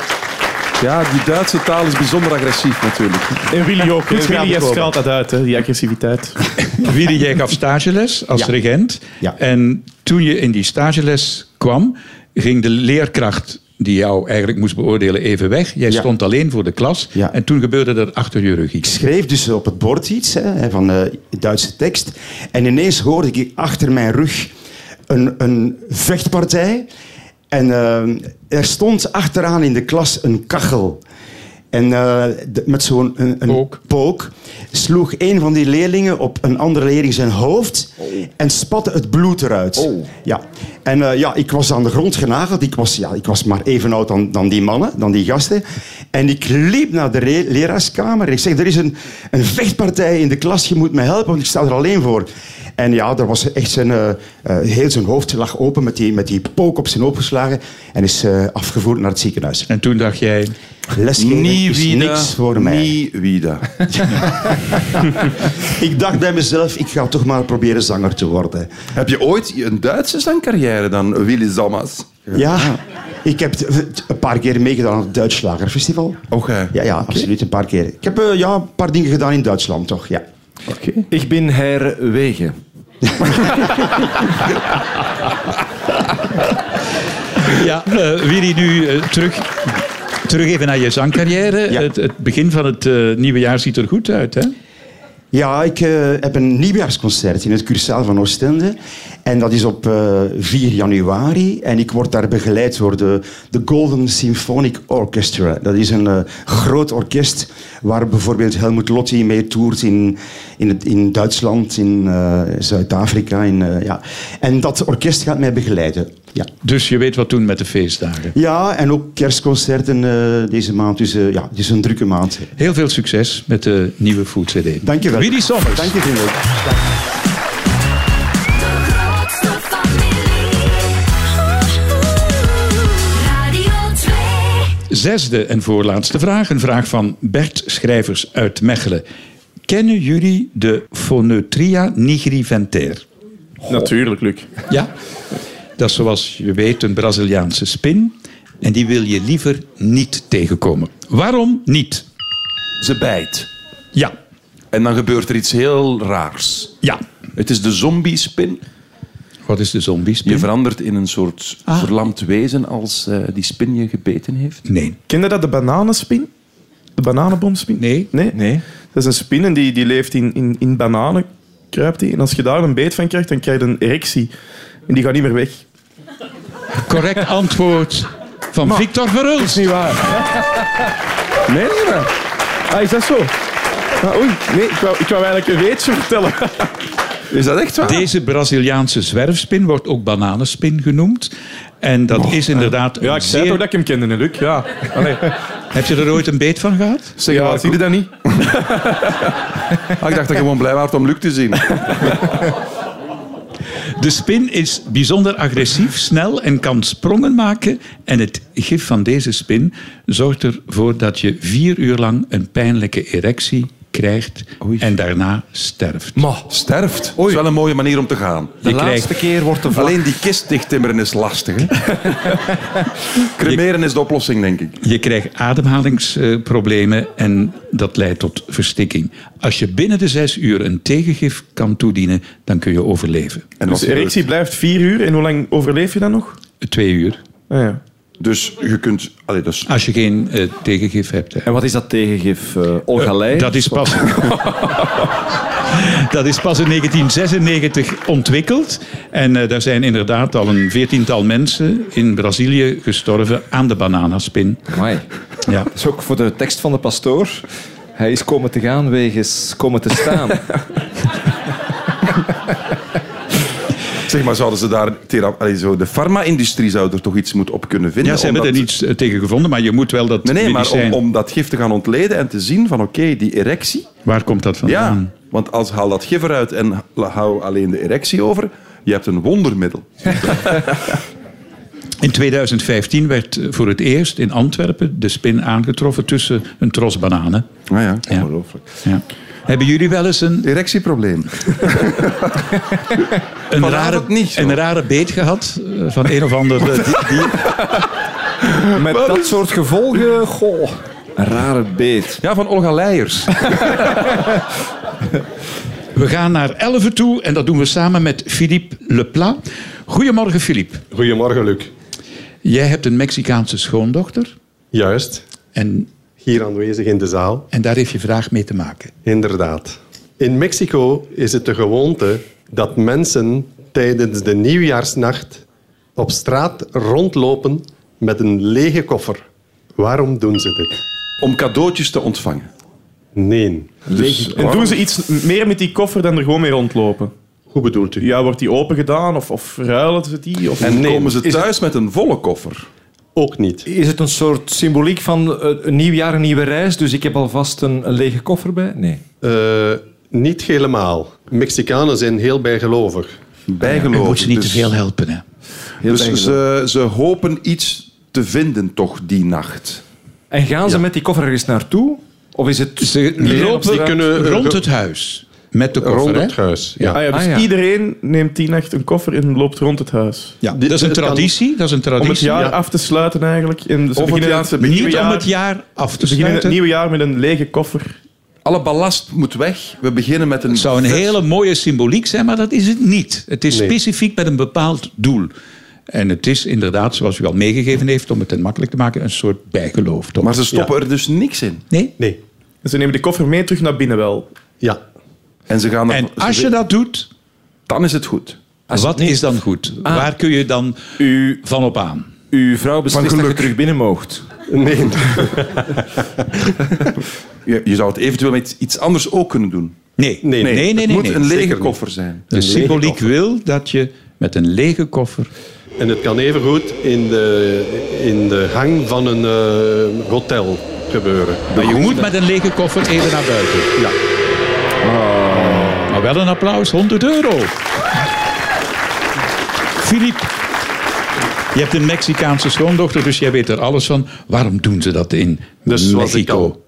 Speaker 5: Ja, die Duitse taal is bijzonder agressief natuurlijk.
Speaker 6: En Willy ook. hè.
Speaker 9: gedaan,
Speaker 6: Willy heeft
Speaker 9: Kobe.
Speaker 6: straalt dat uit, hè, die agressiviteit.
Speaker 3: Willy, jij gaf stageles als
Speaker 9: Ja.
Speaker 3: regent.
Speaker 9: Ja.
Speaker 3: En toen je in die stageles kwam, ging de leerkracht die jou eigenlijk moest beoordelen even weg. Jij
Speaker 9: Ja.
Speaker 3: stond alleen voor de klas
Speaker 9: Ja.
Speaker 3: en toen gebeurde er achter je rug
Speaker 9: Ik
Speaker 3: iets.
Speaker 9: schreef dus op het bord iets hè, van de Duitse tekst. En ineens hoorde ik achter mijn rug een, een vechtpartij. En eh, er stond achteraan in de klas een kachel. En eh, de- met zo'n een, een
Speaker 3: Pook.
Speaker 9: pook sloeg een van die leerlingen op een andere leerling zijn hoofd
Speaker 5: Oh.
Speaker 9: en spatte het bloed eruit. Ja. En eh, ja, ik was aan de grond genageld. Ik was, ja, ik was maar even oud dan, dan die mannen, dan die gasten. En ik liep naar de re- leraarskamer en ik zeg, er is een, een vechtpartij in de klas, je moet me helpen, want ik sta er alleen voor. En ja, er was echt zijn, eh, eh, heel zijn hoofd lag open met die, met die pook op zijn hoofd geslagen en is eh, afgevoerd naar het ziekenhuis.
Speaker 3: En toen dacht jij,
Speaker 9: Lesgeven
Speaker 5: Nie
Speaker 9: is
Speaker 5: wieder.
Speaker 9: niks voor mij.
Speaker 5: Nie wieder.
Speaker 9: Ik dacht bij mezelf, ik ga toch maar proberen zanger te worden.
Speaker 5: Heb je ooit een Duitse zangcarrière dan, Willy Zammers?
Speaker 9: Ja, ik heb t- t- een paar keer meegedaan aan het Duits Slagerfestival.
Speaker 5: Och, hè.
Speaker 9: Ja, ja, absoluut, een paar keer. Ik heb eh, ja, een paar dingen gedaan in Duitsland, toch? Ja.
Speaker 4: Ik ben herwegen.
Speaker 3: ja, eh Willy, nu eh, terug, terug even naar je zangcarrière.
Speaker 9: Ja.
Speaker 3: Het, het begin van het eh, nieuwe jaar ziet er goed uit, hè?
Speaker 9: Ja, ik eh, heb een nieuwjaarsconcert in het Cursaal van Oostende. En dat is op eh, 4 januari. En ik word daar begeleid door de, de Golden Symphonic Orchestra. Dat is een eh, groot orkest waar bijvoorbeeld Helmut Lotti mee toert in, in, het, in Duitsland, in eh, Zuid-Afrika. In, eh, ja. En dat orkest gaat mij begeleiden. Ja.
Speaker 3: Dus je weet wat doen met de feestdagen.
Speaker 9: Ja, en ook kerstconcerten eh, deze maand. Dus eh, ja, het is een drukke maand.
Speaker 3: Heel veel succes met de nieuwe Food CD.
Speaker 9: Dank je wel.
Speaker 3: Willy Sommers.
Speaker 9: Dank je, vrienden.
Speaker 1: De grootste familie. Radio 2.
Speaker 3: Zesde en voorlaatste vraag. Een vraag van Bert Schrijvers uit Mechelen. Kennen jullie de Phonotria nigriventaire?
Speaker 6: Natuurlijk, Luc.
Speaker 3: Ja. Dat is zoals je weet een Braziliaanse spin. En die wil je liever niet tegenkomen. Waarom niet?
Speaker 5: Ze bijt.
Speaker 3: Ja.
Speaker 5: En dan gebeurt er iets heel raars.
Speaker 3: Ja.
Speaker 5: Het is de zombiespin.
Speaker 3: Wat is de zombiespin?
Speaker 5: Je verandert in een soort verlamd wezen als eh, die spin je gebeten heeft.
Speaker 3: Nee.
Speaker 6: Ken je dat, de bananenspin? De bananenbomspin?
Speaker 3: Nee.
Speaker 6: Nee?
Speaker 4: Nee.
Speaker 6: Dat is een spin en die, die leeft in, in, in bananen, kruipt die. En als je daar een beet van krijgt, dan krijg je een erectie. En die gaat niet meer weg.
Speaker 3: Correct antwoord van Victor Verhulst.
Speaker 6: niet waar. Nee, nee, nee. Ah, is dat zo? Ah, oei, nee, ik wou, ik wou eigenlijk een weetje vertellen.
Speaker 5: Is dat echt waar?
Speaker 3: Deze Braziliaanse zwerfspin wordt ook bananenspin genoemd. En dat is inderdaad een
Speaker 6: Oh. Ja, ik zei
Speaker 3: zeer-
Speaker 6: toch dat ik hem kende, hè, Luc. Ja. Allee.
Speaker 3: Heb je er ooit een beet van gehad?
Speaker 5: Zeg maar, zie je dat niet? Ah, ik dacht dat je gewoon blij was om Luc te zien.
Speaker 3: De spin is bijzonder agressief, snel en kan sprongen maken. En het gif van deze spin zorgt ervoor dat je vier uur lang een pijnlijke erectie krijgt en daarna sterft.
Speaker 4: Maar,
Speaker 5: Sterft. Dat is wel een mooie manier om te gaan.
Speaker 4: de
Speaker 3: Je
Speaker 4: laatste
Speaker 3: krijgt-
Speaker 4: keer wordt de vlak...
Speaker 5: Alleen die kist dichttimmeren is lastig. Hè? Cremeren is de oplossing, denk ik.
Speaker 3: Je krijgt ademhalingsproblemen en dat leidt tot verstikking. Als je binnen de zes uur een tegengif kan toedienen, dan kun je overleven.
Speaker 5: En
Speaker 6: Dus
Speaker 5: wat
Speaker 6: de erectie blijft vier uur. En hoe lang overleef je dan nog?
Speaker 3: Twee uur.
Speaker 6: Ah, ja.
Speaker 5: Dus je kunt... Allee, dus
Speaker 3: Als je geen eh, tegengif hebt. hè.
Speaker 4: En wat is dat tegengif? eh Olgalei?
Speaker 3: Dat is pas. Dat is pas in 1996 ontwikkeld. En eh, daar zijn inderdaad al een veertiental mensen in Brazilië gestorven aan de bananaspin.
Speaker 4: Amai.
Speaker 3: Ja.
Speaker 4: Dat is ook voor de tekst van de pastoor. Hij is komen te gaan wegens komen te staan.
Speaker 5: zeg maar, zouden ze daar... thera- Allee, zo, de farma-industrie zou er toch iets moeten op kunnen vinden?
Speaker 3: ja, ze hebben er
Speaker 5: omdat-
Speaker 3: niets eh, tegen gevonden, maar je moet wel dat
Speaker 5: Nee, nee maar om,
Speaker 3: medicijn...
Speaker 5: om dat gif te gaan ontleden en te zien van, oké, die erectie...
Speaker 3: Waar komt dat vandaan?
Speaker 5: Ja, want als haal dat gif eruit en hou alleen de erectie over... Je hebt een wondermiddel.
Speaker 3: In 2015 werd eh, voor het eerst in Antwerpen de spin aangetroffen tussen een tros bananen.
Speaker 5: Ah ja,
Speaker 3: Ja.
Speaker 5: ongelooflijk.
Speaker 3: Ja. Hebben jullie wel eens een,
Speaker 5: Erectieprobleem.
Speaker 3: een,
Speaker 5: Vanavond
Speaker 3: rare,
Speaker 5: niet, hoor.
Speaker 3: een rare beet gehad eh, van een of ander eh, di- dier?
Speaker 4: Met dat soort gevolgen, goh. Een rare beet.
Speaker 5: Ja, van Olga Leijers.
Speaker 3: We gaan naar Elven toe en dat doen we samen met Philippe Lepla. Goedemorgen Philippe.
Speaker 10: Goedemorgen, Luc.
Speaker 3: Jij hebt een Mexicaanse schoondochter
Speaker 10: Juist,
Speaker 3: en,
Speaker 10: hier aanwezig in de zaal.
Speaker 3: en daar heeft je vraag mee te maken.
Speaker 10: Inderdaad. In Mexico is het de gewoonte dat mensen tijdens de nieuwjaarsnacht op straat rondlopen met een lege koffer. Waarom doen ze dit?
Speaker 5: Om cadeautjes te ontvangen.
Speaker 10: Nee.
Speaker 5: Dus,
Speaker 6: En doen ze iets meer met die koffer dan er gewoon mee rondlopen?
Speaker 10: Hoe bedoelt u?
Speaker 6: Ja, wordt die open gedaan of, of ruilen ze die? Of...
Speaker 5: en
Speaker 10: Nee,
Speaker 5: komen ze
Speaker 10: is-
Speaker 5: thuis met een volle koffer.
Speaker 10: Ook niet.
Speaker 4: Is het een soort symboliek van eh, een nieuw jaar, een nieuwe reis, dus ik heb alvast een, een lege koffer bij? Nee.
Speaker 10: Eh, niet helemaal. Mexicanen zijn heel bijgelovig.
Speaker 5: Bijgeloof.
Speaker 3: Je
Speaker 10: Oh,
Speaker 3: moet ze niet
Speaker 5: Dus-
Speaker 3: te veel helpen. Hè.
Speaker 5: Dus ze, ze hopen iets te vinden toch die nacht.
Speaker 4: En gaan ze met die koffer ergens naartoe? Of is het...
Speaker 3: Ze
Speaker 10: Die
Speaker 3: lopen
Speaker 10: kunnen
Speaker 3: rond het huis met de koffer.
Speaker 10: rond het
Speaker 3: hè.
Speaker 10: huis. Ja.
Speaker 6: Ah ja, dus
Speaker 4: Ah, ja.
Speaker 6: iedereen neemt die nacht een koffer en loopt rond het huis.
Speaker 3: Ja,
Speaker 10: Dit-
Speaker 3: dat is een
Speaker 10: het kan-
Speaker 3: traditie. Dat is een
Speaker 6: Om het
Speaker 3: traditie.
Speaker 6: jaar
Speaker 10: Ja.
Speaker 6: af te sluiten eigenlijk. En ze
Speaker 5: Of het
Speaker 6: beginnen
Speaker 5: jaar te
Speaker 6: nieuwe
Speaker 3: Niet om het jaar af te
Speaker 6: Ze beginnen het
Speaker 3: sluiten.
Speaker 6: nieuwe jaar met een lege koffer.
Speaker 5: Alle ballast moet weg. We beginnen met een...
Speaker 3: Het zou een
Speaker 5: vers-
Speaker 3: hele mooie symboliek zijn, maar dat is het niet. Het is
Speaker 10: Nee.
Speaker 3: specifiek met een bepaald doel. En het is inderdaad, zoals u al meegegeven heeft, om het ten makkelijk te maken, een soort bijgeloof. Toch?
Speaker 5: Maar ze stoppen er dus niks in.
Speaker 3: nee?
Speaker 10: Nee.
Speaker 6: En ze nemen de koffer mee terug naar binnen wel.
Speaker 10: Ja.
Speaker 5: En ze gaan... er-
Speaker 3: En
Speaker 5: ze-
Speaker 3: als je dat doet,
Speaker 5: Dan is het goed.
Speaker 3: wat is dan goed? Waar kun je dan
Speaker 4: U,
Speaker 3: van op aan?
Speaker 4: uw vrouw beslist dat
Speaker 5: Van
Speaker 4: je
Speaker 5: geluk.
Speaker 4: terug binnen moogt.
Speaker 10: Nee.
Speaker 5: Je, je zou het eventueel met iets anders ook kunnen doen.
Speaker 3: Nee, nee,
Speaker 10: Nee,
Speaker 3: nee. nee, Dus, nee,
Speaker 5: het moet een
Speaker 3: nee.
Speaker 5: lege koffer zijn.
Speaker 3: De symboliek
Speaker 10: koffer.
Speaker 3: wil dat je met een lege koffer...
Speaker 10: En het kan evengoed in de, in de gang van een eh, hotel gebeuren.
Speaker 3: Maar je moet met een lege koffer even naar buiten.
Speaker 10: Ja.
Speaker 3: Maar wel een applaus, 100 euro. Filip, je hebt een Mexicaanse schoondochter, dus jij weet er alles van. Waarom doen ze dat in
Speaker 10: Dus zoals ik,
Speaker 3: Mexico?
Speaker 10: al,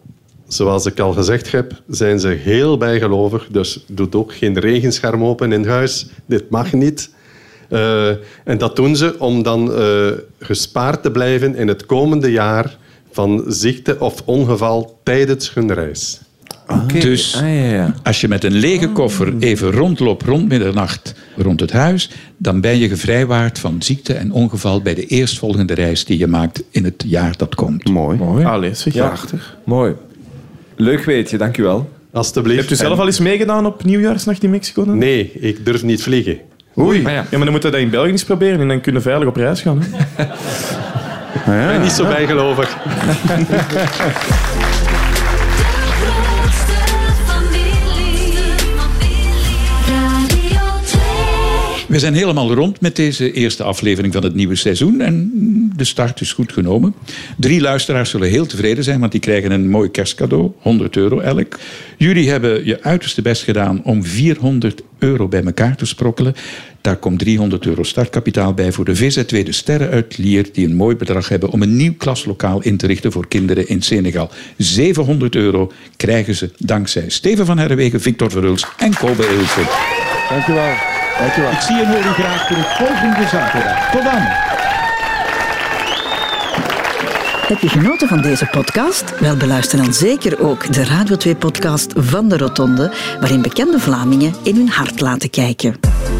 Speaker 10: zoals ik al gezegd heb, zijn ze heel bijgelovig. Dus doet ook geen regenscherm open in huis. Dit mag niet. Eh, en dat doen ze om dan eh, gespaard te blijven in het komende jaar van ziekte of ongeval tijdens hun reis.
Speaker 4: Oké.
Speaker 3: Dus-
Speaker 4: Ah, ja, ja.
Speaker 3: Als je met een lege koffer even rondloopt rond middernacht rond het huis, dan ben je gevrijwaard van ziekte en ongeval bij de eerstvolgende reis die je maakt in het jaar dat komt.
Speaker 5: Mooi.
Speaker 4: Mooi.
Speaker 6: Allee, zeg.
Speaker 4: Ja.
Speaker 5: Prachtig.
Speaker 4: Mooi. Leuk weetje, dank u wel.
Speaker 10: Alsjeblieft.
Speaker 6: Hebt u zelf al eens meegedaan op nieuwjaarsnacht in Mexico dan?
Speaker 10: Nee, ik durf niet vliegen.
Speaker 5: Oei.
Speaker 4: Ah, ja.
Speaker 6: Ja, maar dan moeten we dat in België eens proberen en dan kunnen we veilig op reis gaan. Hè?
Speaker 10: Ik ben niet
Speaker 5: Ah.
Speaker 10: zo bijgelovig.
Speaker 1: de grootste familie. Radio 2.
Speaker 3: We zijn helemaal rond met deze eerste aflevering van het nieuwe seizoen. En de start is goed genomen. Drie luisteraars zullen heel tevreden zijn, want die krijgen een mooi kerstcadeau. 100 euro elk. Jullie hebben je uiterste best gedaan om 400 euro bij elkaar te sprokkelen. Daar komt 300 euro startkapitaal bij voor de VZW De Sterren uit Lier... die een mooi bedrag hebben om een nieuw klaslokaal in te richten voor kinderen in Senegal. 700 euro krijgen ze dankzij Steven van Herwegen, Victor Verhulst en Kobe Ilse. Ik zie en hoor u graag terug volgende zaterdag. Tot dan.
Speaker 11: Heb je genoten van deze podcast? Wel, beluister dan zeker ook de Radio 2-podcast van de Rotonde, waarin bekende Vlamingen in hun hart laten kijken.